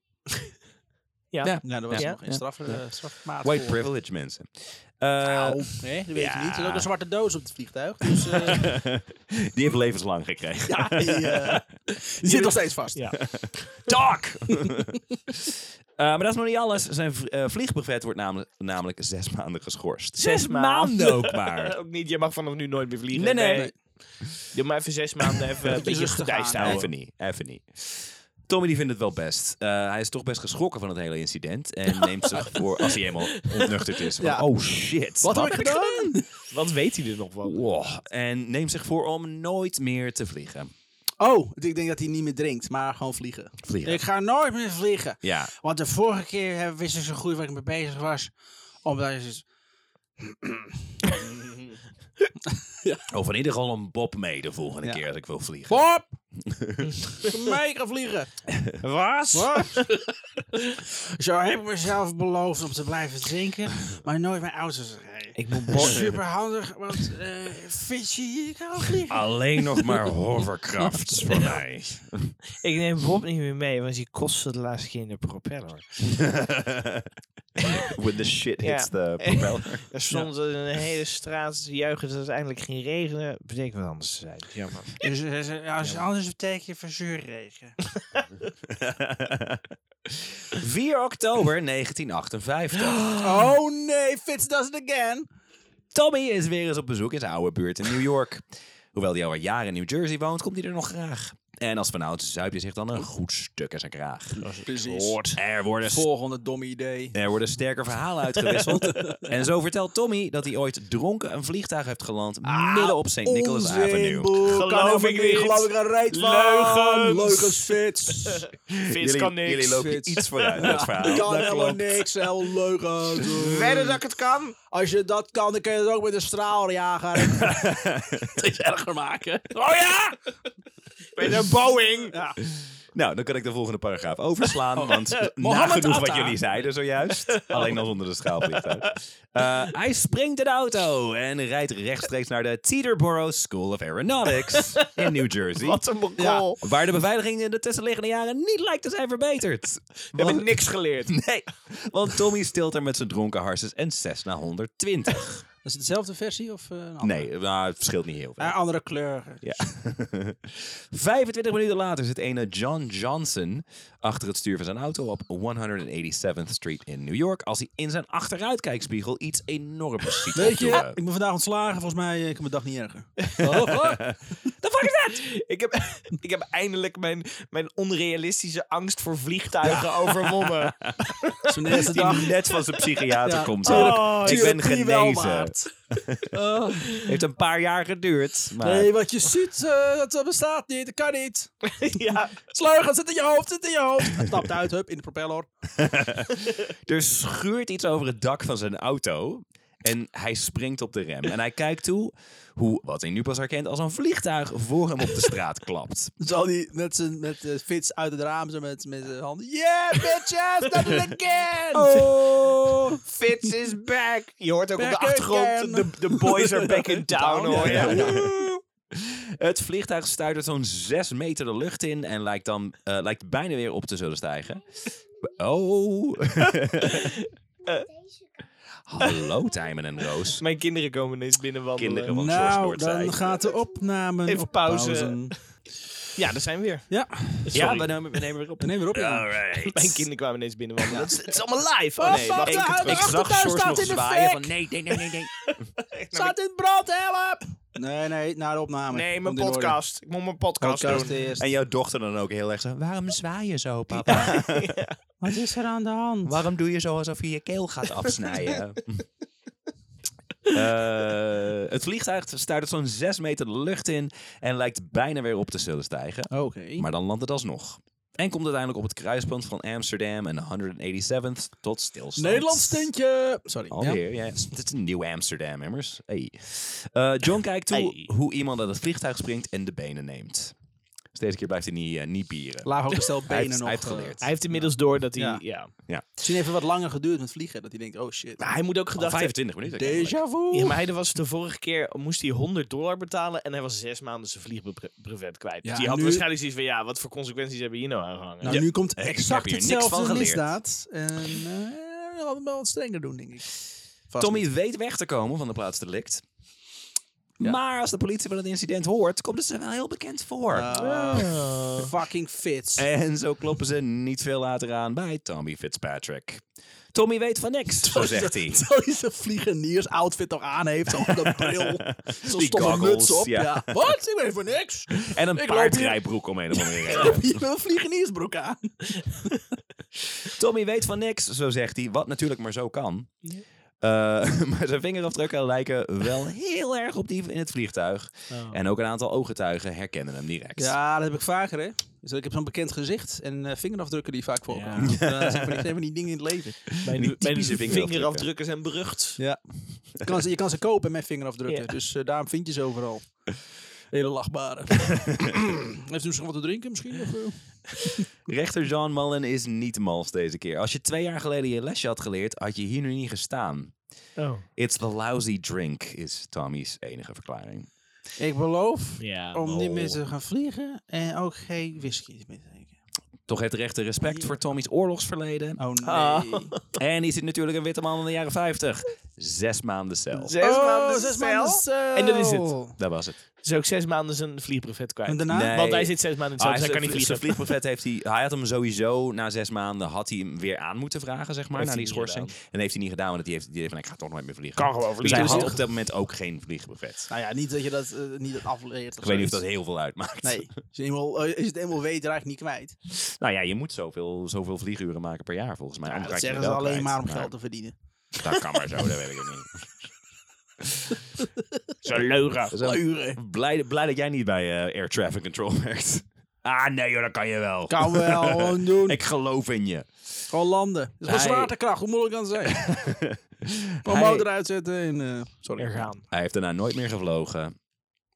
Speaker 4: Ja.
Speaker 3: Ja.
Speaker 2: Nou, dat was
Speaker 4: Ja.
Speaker 2: nog geen
Speaker 4: Ja.
Speaker 2: straf, eh, strafmaat
Speaker 3: White
Speaker 2: voor.
Speaker 3: privilege, mensen. Eh,
Speaker 2: Nou, hè, dat weet
Speaker 3: ja.
Speaker 2: je niet. Er is ook een zwarte doos op het vliegtuig. Dus eh,
Speaker 3: (laughs) die heeft levenslang gekregen.
Speaker 2: ja, die, (laughs) eh, die zit nog steeds vast.
Speaker 4: Ja.
Speaker 3: Talk! (laughs) Eh, maar dat is nog niet alles. Zijn v- eh, vliegbuffet wordt namelijk, namelijk zes maanden geschorst.
Speaker 4: Zes maanden.
Speaker 3: ook
Speaker 4: (laughs)
Speaker 3: maar.
Speaker 4: Eh, ook niet, je mag vanaf nu nooit meer vliegen.
Speaker 3: Nee, nee.
Speaker 4: Doe maar even zes maanden even een
Speaker 2: Beetje
Speaker 4: beetje
Speaker 2: rustig
Speaker 4: gedijst
Speaker 2: aan, hè?
Speaker 4: houden.
Speaker 3: nou Even niet, even niet. Tommy die vindt het wel best. Eh, hij is toch best geschrokken van het hele incident. En neemt zich voor, als hij helemaal ontnuchterd is. van,
Speaker 2: Ja.
Speaker 3: Oh shit.
Speaker 2: Wat heb ik gedaan?
Speaker 4: Wat weet hij er nog van?
Speaker 3: Wow. En neemt zich voor om nooit meer te vliegen.
Speaker 2: Oh, ik denk dat hij niet meer drinkt, maar gewoon vliegen.
Speaker 3: Vliegen.
Speaker 2: Ik ga nooit meer vliegen.
Speaker 3: Ja.
Speaker 2: Want de vorige keer eh, wist ik zo goed waar ik mee bezig was. Omdat je...
Speaker 3: Of in ieder geval een Bob mee de volgende
Speaker 2: Ja.
Speaker 3: keer als ik wil vliegen.
Speaker 2: Bob! (laughs) mee gaan vliegen.
Speaker 4: Was?
Speaker 2: Wat? Zo heb ik mezelf beloofd om te blijven drinken, maar nooit mijn auto te rijden.
Speaker 4: Ik moet
Speaker 2: Super handig, want eh visje hier kan ook vliegen.
Speaker 3: Alleen nog maar (laughs) hoverkracht voor mij.
Speaker 4: Ik neem Bob niet meer mee, want die kostte de laatste keer in de propeller.
Speaker 3: When the shit hits
Speaker 4: Ja.
Speaker 3: the propeller.
Speaker 4: Er stond een hele straat te juichen dat het eindelijk ging regenen. Betekent wat anders te zijn. Jammer.
Speaker 2: Dus, eh, ze- als het anders betekent je (laughs) verzuurregen.
Speaker 3: 4 oktober 1958.
Speaker 2: Oh nee, Fitz does it again.
Speaker 3: (gasps) Tommy is weer eens op bezoek in zijn oude buurt in New York. Hoewel hij al jaren in New Jersey woont, komt hij er nog graag. En als vanouds zuipt hij zich dan een goed stuk in zijn kraag. Dus
Speaker 2: Precies.
Speaker 3: Er worden,
Speaker 2: Volgende domme idee.
Speaker 3: er worden sterke verhalen uitgewisseld. en zo vertelt Tommy dat hij ooit dronken een vliegtuig heeft geland midden op St. Nicholas Avenue.
Speaker 4: Geloof ik niet.
Speaker 2: Geloof ik een reet van.
Speaker 4: Leugens.
Speaker 2: Leugens,
Speaker 4: (laughs)
Speaker 2: Fitz.
Speaker 4: Vins
Speaker 3: Jullie,
Speaker 4: kan niks.
Speaker 3: jullie lopen
Speaker 2: Fits.
Speaker 3: iets vooruit met het verhaal.
Speaker 2: kan
Speaker 3: Dat
Speaker 2: helemaal
Speaker 3: klopt.
Speaker 2: niks. Heel leugens.
Speaker 4: Wedden dat ik het kan?
Speaker 2: Als je dat kan, dan kun je het ook met een
Speaker 3: (laughs)
Speaker 2: straaljager.
Speaker 1: Het is erger maken.
Speaker 4: Oh ja! Met een Boeing.
Speaker 3: Nou, dan kan ik de volgende paragraaf overslaan, want
Speaker 2: Mohammed
Speaker 3: nagenoeg wat
Speaker 2: Atta.
Speaker 3: jullie zeiden zojuist. Alleen dan zonder de schaalvliegtuig. Eh hij springt in de auto en rijdt rechtstreeks naar de Teterboro School of Aeronautics in New Jersey.
Speaker 4: Wat een mokol.
Speaker 3: Waar de beveiliging in de tussenliggende jaren niet lijkt te zijn verbeterd.
Speaker 4: We hebben niks geleerd.
Speaker 3: (laughs) Nee, want Tommy stilt er met zijn dronken harses en 6 naar 120.
Speaker 2: Is het dezelfde versie of eh, een andere?
Speaker 3: Nee, nou, het verschilt niet heel veel.
Speaker 2: Een andere kleur.
Speaker 3: Ja. 25 minuten later zit ene John Johnson achter het stuur van zijn auto op 187th Street in New York. Als hij in zijn achteruitkijkspiegel iets enorms ziet.
Speaker 2: Weet je,
Speaker 3: opdoemen.
Speaker 2: ik ben vandaag ontslagen. Volgens mij eh, ik kan mijn dag niet
Speaker 3: (laughs)
Speaker 2: erger. Oh,
Speaker 4: The fuck is dat? Ik heb, (laughs) ik heb eindelijk mijn, mijn onrealistische angst voor vliegtuigen overwonnen.
Speaker 2: Zo'n eerste
Speaker 3: Die
Speaker 2: dag.
Speaker 3: net van zijn psychiater
Speaker 2: Ja,
Speaker 3: komt.
Speaker 2: tuurlijk.
Speaker 3: Oh, ik ben
Speaker 2: Tuurlijk, die wel
Speaker 3: genezen.
Speaker 2: waard.
Speaker 3: Heeft een paar jaar geduurd. Maar
Speaker 2: Nee, wat je ziet, eh, dat dat bestaat niet. Dat kan niet.
Speaker 4: (laughs) ja.
Speaker 2: Sleugen, zit in je hoofd, zit in je hoofd. Hij stapt uit, hup, in de propeller.
Speaker 3: er schuurt iets over het dak van zijn auto. En hij springt op de rem. En hij kijkt toe hoe, wat hij nu pas herkent, als een vliegtuig voor hem op de straat klapt.
Speaker 2: Zal die met zijn met, eh, Fitz uit het raam, zo met, met zijn handen. Yeah, bitches, dat is again!
Speaker 4: Oh, Fitz is back. Je hoort ook
Speaker 2: Back
Speaker 4: op de achtergrond,
Speaker 2: again.
Speaker 4: de, de boys are back (laughs) in town hoor. je.
Speaker 3: Ja, ja.
Speaker 4: (laughs)
Speaker 3: Het vliegtuig stuitert zo'n 6 meter de lucht in en lijkt, dan, eh, lijkt bijna weer op te zullen stijgen. Oh.
Speaker 2: (laughs)
Speaker 3: Hallo, Tijmen en Roos.
Speaker 4: Dus Mijn kinderen komen ineens binnen wandelen.
Speaker 3: Kinderen van George
Speaker 2: Nou,
Speaker 3: Noordzij.
Speaker 2: dan gaat de opname
Speaker 4: Even
Speaker 2: op
Speaker 4: pauze.
Speaker 2: pauzen.
Speaker 4: Ja, daar zijn we (laughs) weer.
Speaker 2: Ja,
Speaker 3: Ja, we nemen, we nemen weer op.
Speaker 2: dan neem weer op. jongen.
Speaker 4: Mijn kinderen kwamen ineens binnen wandelen. Dat is, het is allemaal live. Oh
Speaker 2: Oh,
Speaker 4: nee,
Speaker 2: fuck,
Speaker 4: wacht.
Speaker 2: de
Speaker 4: Ik-
Speaker 2: huid-
Speaker 3: Ik zag
Speaker 2: achtertuin
Speaker 3: George
Speaker 2: staat
Speaker 3: nog
Speaker 2: in de
Speaker 3: zwaaien
Speaker 2: fik.
Speaker 3: van nee, nee, nee, nee, nee.
Speaker 2: Staat in brand, help! Nee, nee, na de opname.
Speaker 4: Nee, mijn
Speaker 2: Komt in orde.
Speaker 4: podcast. Ik moet mijn podcast,
Speaker 2: Podcast
Speaker 4: doen.
Speaker 3: (laughs)
Speaker 2: eerst.
Speaker 3: En jouw dochter dan ook heel erg zo, waarom zwaai je zo, papa? (laughs)
Speaker 2: Wat is er aan de hand?
Speaker 3: Waarom doe je zo alsof je je keel (laughs) gaat afsnijden? Eh, het vliegtuig stuit zo'n 6 meter de lucht in en lijkt bijna weer op te zullen stijgen.
Speaker 2: Oké.
Speaker 3: Maar dan landt het alsnog. En komt uiteindelijk op het kruispunt van Amsterdam en 187th tot stilstand.
Speaker 2: Nederlands tintje! Sorry. Ja.
Speaker 3: Alweer, ja. Het is een nieuw Amsterdam, immers. Hey. Eh, John kijkt toe
Speaker 4: Hey.
Speaker 3: hoe iemand uit het vliegtuig springt en de benen neemt. deze keer blijft hij niet, eh, niet bieren.
Speaker 2: Laag ook een stel benen
Speaker 3: hij heeft,
Speaker 2: nog.
Speaker 3: hij heeft
Speaker 2: eh,
Speaker 3: geleerd.
Speaker 4: Hij heeft inmiddels door dat hij...
Speaker 2: Ja.
Speaker 4: Ja.
Speaker 2: Misschien even wat langer geduurd met vliegen. Dat hij denkt, oh shit.
Speaker 4: Maar hij moet ook
Speaker 3: Al
Speaker 4: gedacht hebben...
Speaker 3: 25 minuten. eigenlijk.
Speaker 2: Déjà vu.
Speaker 4: Ja, maar hij was de vorige keer moest hij 100 dollar betalen en hij was zes maanden zijn vliegbrevet kwijt.
Speaker 2: Ja,
Speaker 4: dus die had
Speaker 2: nu-
Speaker 4: waarschijnlijk zoiets van, ja, wat voor consequenties hebben we hier nou aangehangen?
Speaker 2: Nou,
Speaker 4: Ja.
Speaker 2: nu komt
Speaker 3: Eh, heb
Speaker 2: exact
Speaker 3: hier niks van
Speaker 2: hetzelfde
Speaker 3: geleerd.
Speaker 2: misdaad. En eh, wat, wat strenger doen, denk ik. Vast niet.
Speaker 3: Tommy weet weg te komen van de plaatsdelict. Maar als de politie van het incident hoort, komt het ze wel heel bekend voor.
Speaker 2: Ah, fucking fits.
Speaker 3: En zo kloppen ze niet veel later aan bij Tommy Fitzpatrick. Tommy weet van niks, zo zegt hij.
Speaker 2: Zoiets een vliegeniers outfit nog aan heeft. Zo'n dat bril.
Speaker 3: (laughs)
Speaker 2: Zo'n
Speaker 3: Die
Speaker 2: stomme
Speaker 3: goggles,
Speaker 2: muts op.
Speaker 3: ja.
Speaker 2: Ja. Wat? Ik ben voor
Speaker 3: (laughs)
Speaker 2: niks.
Speaker 3: En een
Speaker 2: Ik loop
Speaker 3: paardrijbroek om een of andere reden.
Speaker 2: Je hebt een vliegeniersbroek aan.
Speaker 3: (laughs) Tommy weet van niks, zo zegt hij. Wat natuurlijk maar zo kan. Eh, (laughs) maar zijn vingerafdrukken lijken wel heel erg op die in het vliegtuig. En ook een aantal ooggetuigen herkennen hem direct.
Speaker 2: Oh. Ja, dat heb ik vaker, hè. Dus ik heb zo'n bekend gezicht en eh, vingerafdrukken die vaak
Speaker 3: (laughs)
Speaker 2: voorkomen. Dan zeg ik van, ik neem die dingen in het leven.
Speaker 3: die
Speaker 4: Mijn, mijn
Speaker 3: typische vingerafdrukken.
Speaker 4: vingerafdrukken zijn berucht.
Speaker 2: Ja. Je kan ze, je kan ze kopen met vingerafdrukken,
Speaker 4: Ja.
Speaker 2: dus eh, daarom vind je ze overal. Hele
Speaker 3: (laughs)
Speaker 2: lachbare. Heeft u misschien wat te drinken misschien? Of, eh?
Speaker 3: Rechter Jean Mullen is niet mals deze keer. Als je twee jaar geleden je lesje had geleerd, had je hier nu niet gestaan. It's the lousy drink, is Tommy's enige verklaring.
Speaker 2: Ik beloof
Speaker 4: Ja,
Speaker 2: om niet
Speaker 4: lol.
Speaker 2: meer
Speaker 3: oh.
Speaker 2: te gaan vliegen en ook geen whisky meer te drinken.
Speaker 3: Toch heeft de rechter respect voor Tommy's oorlogsverleden.
Speaker 2: Oh nee.
Speaker 3: Ah. En die zit natuurlijk een witte man in de jaren 50. Zes maanden cel.
Speaker 4: Zes maanden
Speaker 2: Oh, zes Oh.
Speaker 4: cel.
Speaker 2: maanden cel.
Speaker 4: En dat is het.
Speaker 3: Dat was het.
Speaker 4: Dus ook zes maanden zijn vliegbrevet kwijt.
Speaker 2: En daarna? Nee.
Speaker 4: Want hij zit zes maanden in het cel,
Speaker 3: Ah,
Speaker 4: dus hij kan niet
Speaker 3: zijn-
Speaker 4: vliegen.
Speaker 3: zijn vliegbuffet heeft hij... Hij had hem sowieso na zes maanden... had hij hem weer aan moeten vragen, zeg maar,
Speaker 4: Heeft
Speaker 3: na
Speaker 4: hij
Speaker 3: die
Speaker 4: niet
Speaker 3: schorsing. En heeft hij niet gedaan, want die heeft, die heeft van... ik ga toch nooit meer vliegen.
Speaker 4: Kan gewoon
Speaker 3: Dus
Speaker 4: vliegen.
Speaker 3: hij
Speaker 2: Dus
Speaker 3: had
Speaker 2: toch-
Speaker 3: op dat moment ook geen vliegbuffet.
Speaker 2: Nou ja, niet dat je dat eh, niet dat afleert.
Speaker 3: Ik weet niet of dat heel veel uitmaakt.
Speaker 2: Nee, als je, eenmaal, eh, als je het eenmaal weet, raak je het niet kwijt.
Speaker 3: (laughs) Nou ja, je moet zoveel, zoveel vlieguren maken per jaar volgens mij.
Speaker 2: Ja,
Speaker 3: Anders
Speaker 2: dat
Speaker 3: raak je
Speaker 2: zeggen
Speaker 3: het
Speaker 2: ze
Speaker 3: wel
Speaker 2: alleen
Speaker 3: kwijt.
Speaker 2: maar om geld te verdienen.
Speaker 3: Dat kan maar zo, dat weet ik ook niet.
Speaker 4: Zo'n leugen.
Speaker 3: Zo,
Speaker 2: Uren.
Speaker 3: blij, blij dat jij niet bij eh, Air Traffic Control (laughs) werkt. Ah nee joh, dat kan je wel.
Speaker 2: Kan wel
Speaker 3: (laughs)
Speaker 2: gewoon doen.
Speaker 3: Ik geloof in je.
Speaker 2: Gewoon landen. Het is gewoon
Speaker 3: Hij-
Speaker 2: zwaartekracht, hoe moeilijk kan het
Speaker 3: (laughs)
Speaker 2: zijn? Gewoon
Speaker 3: Hij-
Speaker 2: motor uitzetten en... eh, sorry.
Speaker 4: Er gaan,
Speaker 3: Hij heeft daarna nooit meer gevlogen.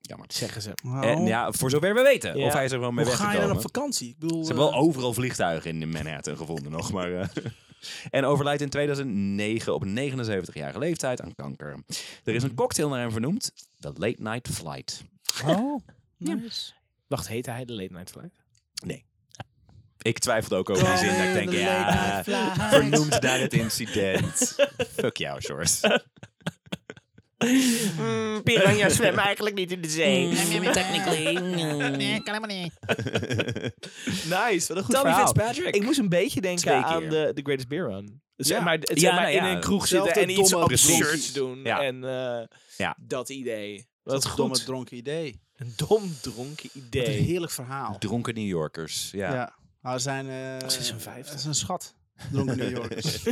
Speaker 3: Jammer.
Speaker 4: zeggen ze.
Speaker 2: Nou,
Speaker 3: En ja, voor zover we weten.
Speaker 4: Ja.
Speaker 3: Of hij is er wel mee
Speaker 2: hoe ga je dan
Speaker 3: weggekomen.
Speaker 2: op vakantie? Ik bedoel,
Speaker 3: Ze hebben wel
Speaker 2: eh,
Speaker 3: overal vliegtuigen in Manhattan gevonden nog. Maar, eh. (laughs) en overlijdt in 2009 op 79-jarige leeftijd aan kanker. Er is een cocktail naar hem vernoemd. The Late Night Flight.
Speaker 4: Wacht, heette hij de Late Night Flight?
Speaker 3: Ik twijfelde ook over die zin. dat ik denk,
Speaker 2: eh, de
Speaker 3: ja,
Speaker 2: Oh, late night flight.
Speaker 3: vernoemd naar het incident. Fuck jou, Shores.
Speaker 4: Mm, Piranha zwemmen eigenlijk niet in de zee.
Speaker 2: Mm.
Speaker 6: technically. Nee, kan helemaal niet.
Speaker 4: Nice, wat een goed
Speaker 3: Tommy
Speaker 4: verhaal.
Speaker 3: Fitzpatrick.
Speaker 4: Ik moest een beetje denken
Speaker 3: Twee
Speaker 4: aan
Speaker 3: keer.
Speaker 4: de, de Greatest Beer Run. Zeg
Speaker 3: Ja.
Speaker 4: maar, het-
Speaker 3: Ja,
Speaker 4: zeg maar
Speaker 3: nou ja,
Speaker 4: in een kroeg
Speaker 2: zelfde
Speaker 4: zitten en iets
Speaker 2: domme
Speaker 4: absurds
Speaker 2: precies.
Speaker 4: doen.
Speaker 3: Ja.
Speaker 4: En eh,
Speaker 3: Ja.
Speaker 4: dat idee.
Speaker 2: Dat
Speaker 4: Wat goed.
Speaker 2: domme dronken idee.
Speaker 4: een dom dronken
Speaker 2: Wat een
Speaker 4: idee.
Speaker 2: heerlijk verhaal.
Speaker 3: Dronken New Yorkers. Ja.
Speaker 2: Ja. Maar er zijn... eh,
Speaker 4: 56.
Speaker 2: Dat is een schat. Dronken New
Speaker 3: (laughs)
Speaker 2: Yorkers.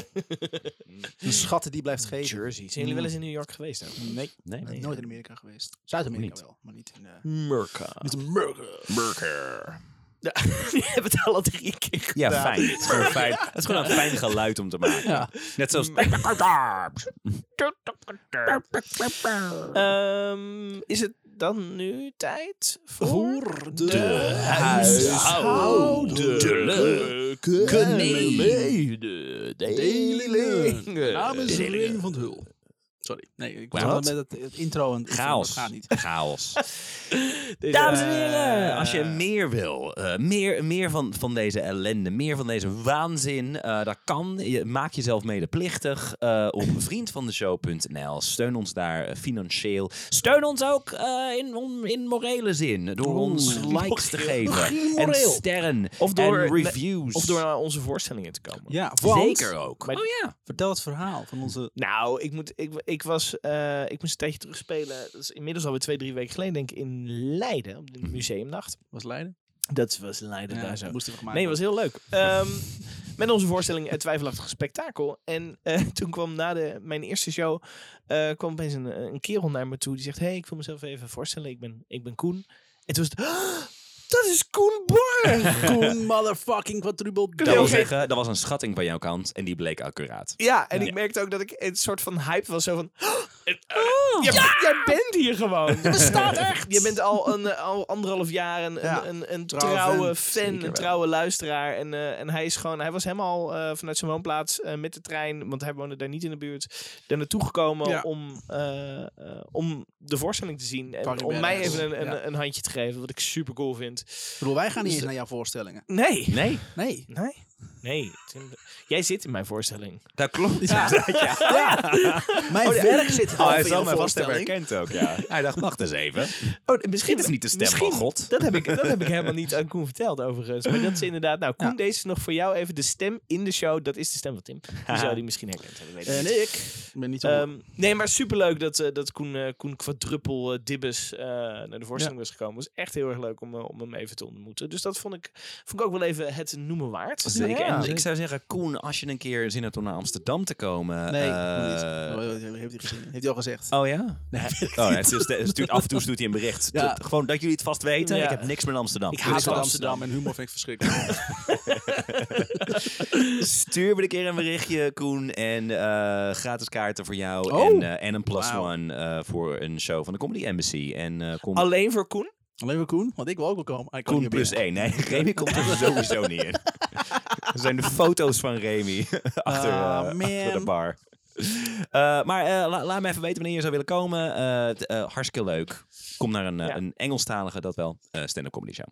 Speaker 2: een schat die blijft geven.
Speaker 4: Jersey. Zijn jullie wel eens in New York geweest? Hè?
Speaker 2: Nee,
Speaker 3: Mm. Nee,
Speaker 2: ik ben nooit in Amerika geweest. Zuid-Amerika
Speaker 3: Niet.
Speaker 2: wel, maar niet in... eh
Speaker 4: Murka.
Speaker 2: niet in Amerika.
Speaker 3: Burger.
Speaker 4: Ja, (laughs) die hebben het alle drie keer
Speaker 3: Ja,
Speaker 4: gedaan.
Speaker 3: fijn. Het is, gewoon fijn. Het is gewoon een fijn geluid om te maken. Net zoals...
Speaker 4: Ehm, is het dan nu tijd voor, de,
Speaker 2: huishoudelijke
Speaker 4: mededelingen.
Speaker 2: Namens Reen van het Hul. Sorry. Nee, ik was
Speaker 3: Wat?
Speaker 2: altijd met het, het intro en
Speaker 3: Chaos.
Speaker 2: Dat gaat niet.
Speaker 3: (laughs) Chaos.
Speaker 4: Deze-
Speaker 3: Dames en heren, als je meer wil, eh, meer, meer van, van deze ellende, meer van deze waanzin, eh, dat kan. Je, maak jezelf medeplichtig eh op vriendvandeshow.nl. Steun ons daar eh, financieel. Steun ons ook eh, in, om- in morele zin, door ons likes te geven. En
Speaker 2: moreel.
Speaker 3: sterren,
Speaker 4: Of door-
Speaker 3: en reviews.
Speaker 4: Of door naar onze voorstellingen te komen.
Speaker 2: Ja, want,
Speaker 3: Zeker ook.
Speaker 4: Maar-
Speaker 3: oh ja.
Speaker 2: Vertel het verhaal van onze...
Speaker 4: Nou, ik, moet, ik, ik, was, eh, ik moest een tijdje terugspelen. Dat is inmiddels alweer twee, drie weken geleden, denk ik, in Leiden. Op de museumnacht.
Speaker 2: Was Leiden?
Speaker 4: Mhm. Dat was Leiden daar zo.
Speaker 2: moesten we gemaakt
Speaker 4: Nee, was heel (laughs) leuk. Ehm, met onze voorstelling Het Twijfelachtige Spektakel. En eh, (laughs) toen kwam na de, mijn eerste show eh, kwam opeens een, een kerel naar me toe. Die zegt, hey, ik wil mezelf even voorstellen. Ik ben, ik ben Koen. En toen was het, "Ah, dat is is Koen
Speaker 2: (laughs)
Speaker 4: Borg.
Speaker 2: Koen motherfucking quadruple
Speaker 3: Dat wil
Speaker 4: Oké.
Speaker 3: zeggen, dat was een schatting van jouw kant en die bleek accuraat.
Speaker 4: Ja, en ik merkte ook dat ik een soort van hype was. Zo van, oh, jij, jij bent hier (laughs) gewoon. Je bestaat echt. Je bent al, een, eh, al anderhalf jaar een,
Speaker 2: Ja,
Speaker 4: een, een, een
Speaker 2: trouwe
Speaker 4: trouwe,
Speaker 2: fan.
Speaker 4: fan,
Speaker 2: Zeker
Speaker 4: een
Speaker 2: wel.
Speaker 4: trouwe luisteraar. En, eh, en hij is gewoon, hij was helemaal eh, vanuit zijn woonplaats eh, met de trein, want hij woonde daar niet in de buurt, daar naartoe gekomen
Speaker 2: Ja.
Speaker 4: om, eh, eh, om de voorstelling te zien. En
Speaker 2: Fucking
Speaker 4: om mij
Speaker 2: badass.
Speaker 4: even een, een,
Speaker 2: Ja.
Speaker 4: een handje te geven, wat ik super cool vind.
Speaker 2: Ik bedoel, wij gaan niet eens naar jouw voorstellingen.
Speaker 4: Nee.
Speaker 3: Nee,
Speaker 2: Nee.
Speaker 4: Nee. Nee. Tim, Jij zit in mijn voorstelling.
Speaker 3: dat klopt. (laughs) Oh,
Speaker 2: Mijn werk zit half in jouw voorstelling.
Speaker 3: herkend ook, ja. Hij dacht, wacht eens even.
Speaker 4: Oh, misschien
Speaker 3: Dit is niet de stem
Speaker 4: misschien-
Speaker 3: van God.
Speaker 4: Dat heb, ik, dat heb ik helemaal niet aan Koen verteld overigens. Maar dat is inderdaad... Nou, Koen, deze is nog voor jou even de stem in de show. Dat is de stem van Tim. Die zou die misschien herkend hebben. Weet ik niet.
Speaker 2: En ik ben niet zo
Speaker 4: Ehm, nee, maar superleuk dat, eh, dat Koen, eh, Koen quadruppel eh, Dibbes eh, naar de voorstelling was gekomen. Het was echt heel erg leuk om, eh, om hem even te ontmoeten. Dus dat vond ik, vond ik ook wel even het noemen waard.
Speaker 3: Zeker.
Speaker 4: Ja.
Speaker 3: En ik zou zeggen, Koen, als je een keer zin hebt om naar Amsterdam te komen...
Speaker 2: Nee,
Speaker 3: eh,
Speaker 2: niet. Oh, heeft hij gezien. Heeft hij al gezegd.
Speaker 3: Oh ja? Nee, oh, hij stuurt- hij stuurt, af en toe stuurt hij een bericht.
Speaker 2: Ja.
Speaker 3: Tot- gewoon dat jullie het vast weten.
Speaker 4: Ja.
Speaker 3: Ik heb niks met Amsterdam. Dus
Speaker 4: Ik haat
Speaker 3: Niks met
Speaker 4: Amsterdam.
Speaker 2: en humor vind ik verschrikkelijk.
Speaker 3: Stuur me een keer een berichtje, Koen. En eh, gratis kaarten voor jou.
Speaker 2: Oh.
Speaker 3: En, eh, en een plus
Speaker 2: Wauw.
Speaker 3: one eh, voor een show van de Comedy Embassy. En eh, kom
Speaker 4: Alleen voor Koen?
Speaker 2: Alleen maar Koen, want ik wil ook wel komen. Hij kan
Speaker 3: Koen
Speaker 2: niet
Speaker 3: plus
Speaker 2: meer.
Speaker 3: één. Nee, (laughs) Remy komt er sowieso niet in. Er zijn de foto's van Remy (laughs) achter, eh,
Speaker 2: Ah,
Speaker 3: achter de
Speaker 2: man.
Speaker 3: bar. Eh, maar eh, la- laat me even weten wanneer je zou willen komen. Eh, t- eh, hartstikke leuk. Kom naar een, eh,
Speaker 4: Ja.
Speaker 3: een Engelstalige, dat wel, eh, stand-up comedy show.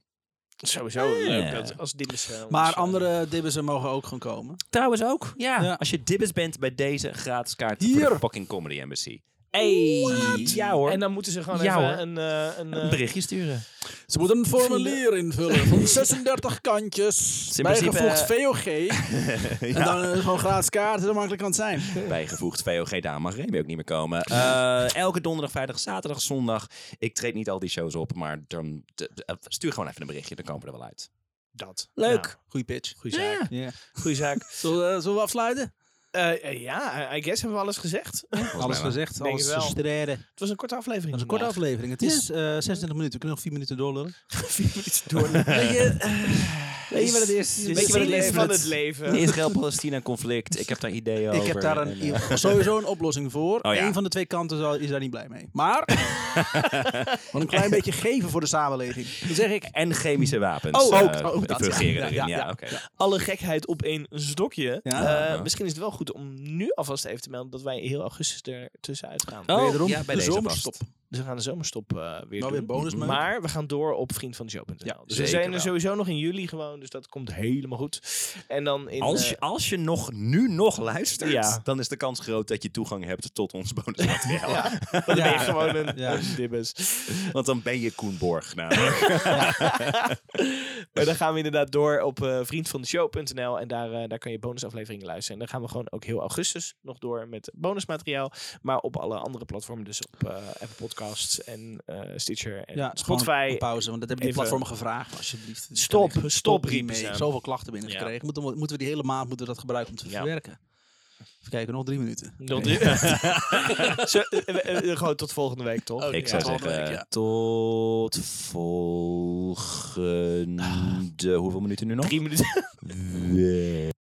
Speaker 4: Sowieso leuk dat, als Dibbes... eh, ons,
Speaker 2: Maar
Speaker 4: eh,
Speaker 2: andere dibbissen mogen ook gewoon komen.
Speaker 3: Trouwens ook. Ja,
Speaker 2: Ja.
Speaker 3: als je dibbes bent bij deze gratis kaart
Speaker 2: Hier.
Speaker 3: voor de fucking Comedy Embassy. Hey. Ja hoor.
Speaker 4: En dan moeten ze gewoon
Speaker 3: Ja,
Speaker 4: even
Speaker 3: hoor.
Speaker 4: een, eh, een, eh,
Speaker 3: een berichtje (laughs) sturen.
Speaker 2: Ze moeten een formulier invullen van 36 kantjes.
Speaker 3: is in principe,
Speaker 2: Bijgevoegd VOG. En dan eh, gewoon gratis kaarten, zo makkelijk kan het zijn.
Speaker 3: Bijgevoegd VOG, daar mag Remy ook niet meer komen. Eh, elke donderdag, vrijdag, zaterdag, zondag. Ik treed niet al die shows op, maar dan, de- de- eh, stuur gewoon even een berichtje, dan komen we er wel uit.
Speaker 4: dat.
Speaker 3: Leuk.
Speaker 4: Nou,
Speaker 2: Goeie pitch.
Speaker 4: goeie zaak.
Speaker 2: Ja.
Speaker 4: Goeie zaak.
Speaker 2: Zullen, we- zullen we afsluiten?
Speaker 4: Eh, eh, ja, I guess hebben we alles gezegd. (laughs) het
Speaker 3: Volgens mij wel.
Speaker 2: gezegd,
Speaker 4: Denk het wel.
Speaker 2: gestreden. Dat
Speaker 4: was een korte aflevering.
Speaker 2: is een korte aflevering. Het is eh 26 minuten. We kunnen nog 4 minuten doorlullen.
Speaker 4: (laughs)
Speaker 2: Weet je wat het is?
Speaker 4: Weet je wat het is van het leven?
Speaker 3: Een Israël-Palestina-conflict, ik heb daar ideeën
Speaker 2: Ik
Speaker 3: over.
Speaker 2: heb daar
Speaker 3: En,
Speaker 2: een,
Speaker 3: eh,
Speaker 2: sowieso een oplossing voor.
Speaker 3: Oh ja.
Speaker 2: Eén van de twee kanten zal- is daar niet blij mee. (laughs) Maar, want een klein beetje geven voor de samenleving. Dan zeg ik,
Speaker 3: En chemische wapens.
Speaker 2: Oh,
Speaker 3: eh,
Speaker 2: ook. Oh, dat,
Speaker 3: fungeren
Speaker 2: ja.
Speaker 3: erin.
Speaker 2: Ja,
Speaker 3: Ja,
Speaker 2: ja.
Speaker 3: oké.
Speaker 4: Alle gekheid op één stokje.
Speaker 2: Ja.
Speaker 4: Eh, Misschien is het wel goed om nu alvast even te melden dat wij heel augustus er tussenuit gaan.
Speaker 2: wederom,
Speaker 3: ja, bij
Speaker 2: de
Speaker 3: deze
Speaker 2: zomerstop.
Speaker 3: past.
Speaker 4: Dus we gaan de zomerstop eh, weer
Speaker 2: Nou,
Speaker 4: doen.
Speaker 2: weer bonus mee.
Speaker 4: maar we gaan door op vriendvandeshow.nl. dus we
Speaker 3: zeker
Speaker 4: zijn er
Speaker 3: wel.
Speaker 4: sowieso nog in juli gewoon. Dus dat komt helemaal goed. En dan in...
Speaker 3: Als
Speaker 4: eh,
Speaker 3: je, als je nog, nu nog luistert,
Speaker 4: Ja.
Speaker 3: dan is de kans groot dat je toegang hebt tot ons bonusmateriaal.
Speaker 4: dan ben je gewoon een,
Speaker 2: Ja.
Speaker 4: een dibbes.
Speaker 3: Want dan ben je Koen Borg. namelijk.
Speaker 4: Maar dan gaan we inderdaad door op eh vriendvandeshow.nl. En daar, eh, daar kan je bonusafleveringen luisteren. En dan gaan we gewoon ook heel augustus nog door met bonusmateriaal. Maar op alle andere platformen. Dus op eh, Apple Podcasts en eh, Stitcher en
Speaker 2: Ja, gewoon
Speaker 4: Spotify.
Speaker 2: een pauze, want dat hebben die
Speaker 4: Even-
Speaker 2: platformen gevraagd. Alsjeblieft. Dit
Speaker 4: Stop,
Speaker 2: kan ik-
Speaker 4: stop
Speaker 2: niet mee.
Speaker 4: riepen ze.
Speaker 2: Zoveel klachten binnen
Speaker 4: Ja.
Speaker 2: gekregen. Moeten, we- moeten we die hele maand moeten we dat gebruiken om te
Speaker 4: Ja.
Speaker 2: verwerken. Even kijken, nog drie minuten.
Speaker 4: Nog drie- (laughs) Zo, eh, eh, eh, gewoon tot volgende week, toch?
Speaker 2: Oh,
Speaker 3: Ik
Speaker 2: ja.
Speaker 3: zou
Speaker 2: volgende
Speaker 3: zeggen,
Speaker 2: week, ja.
Speaker 3: tot
Speaker 2: Ah.
Speaker 3: volgende... Hoeveel minuten nu nog?
Speaker 4: Drie minuten.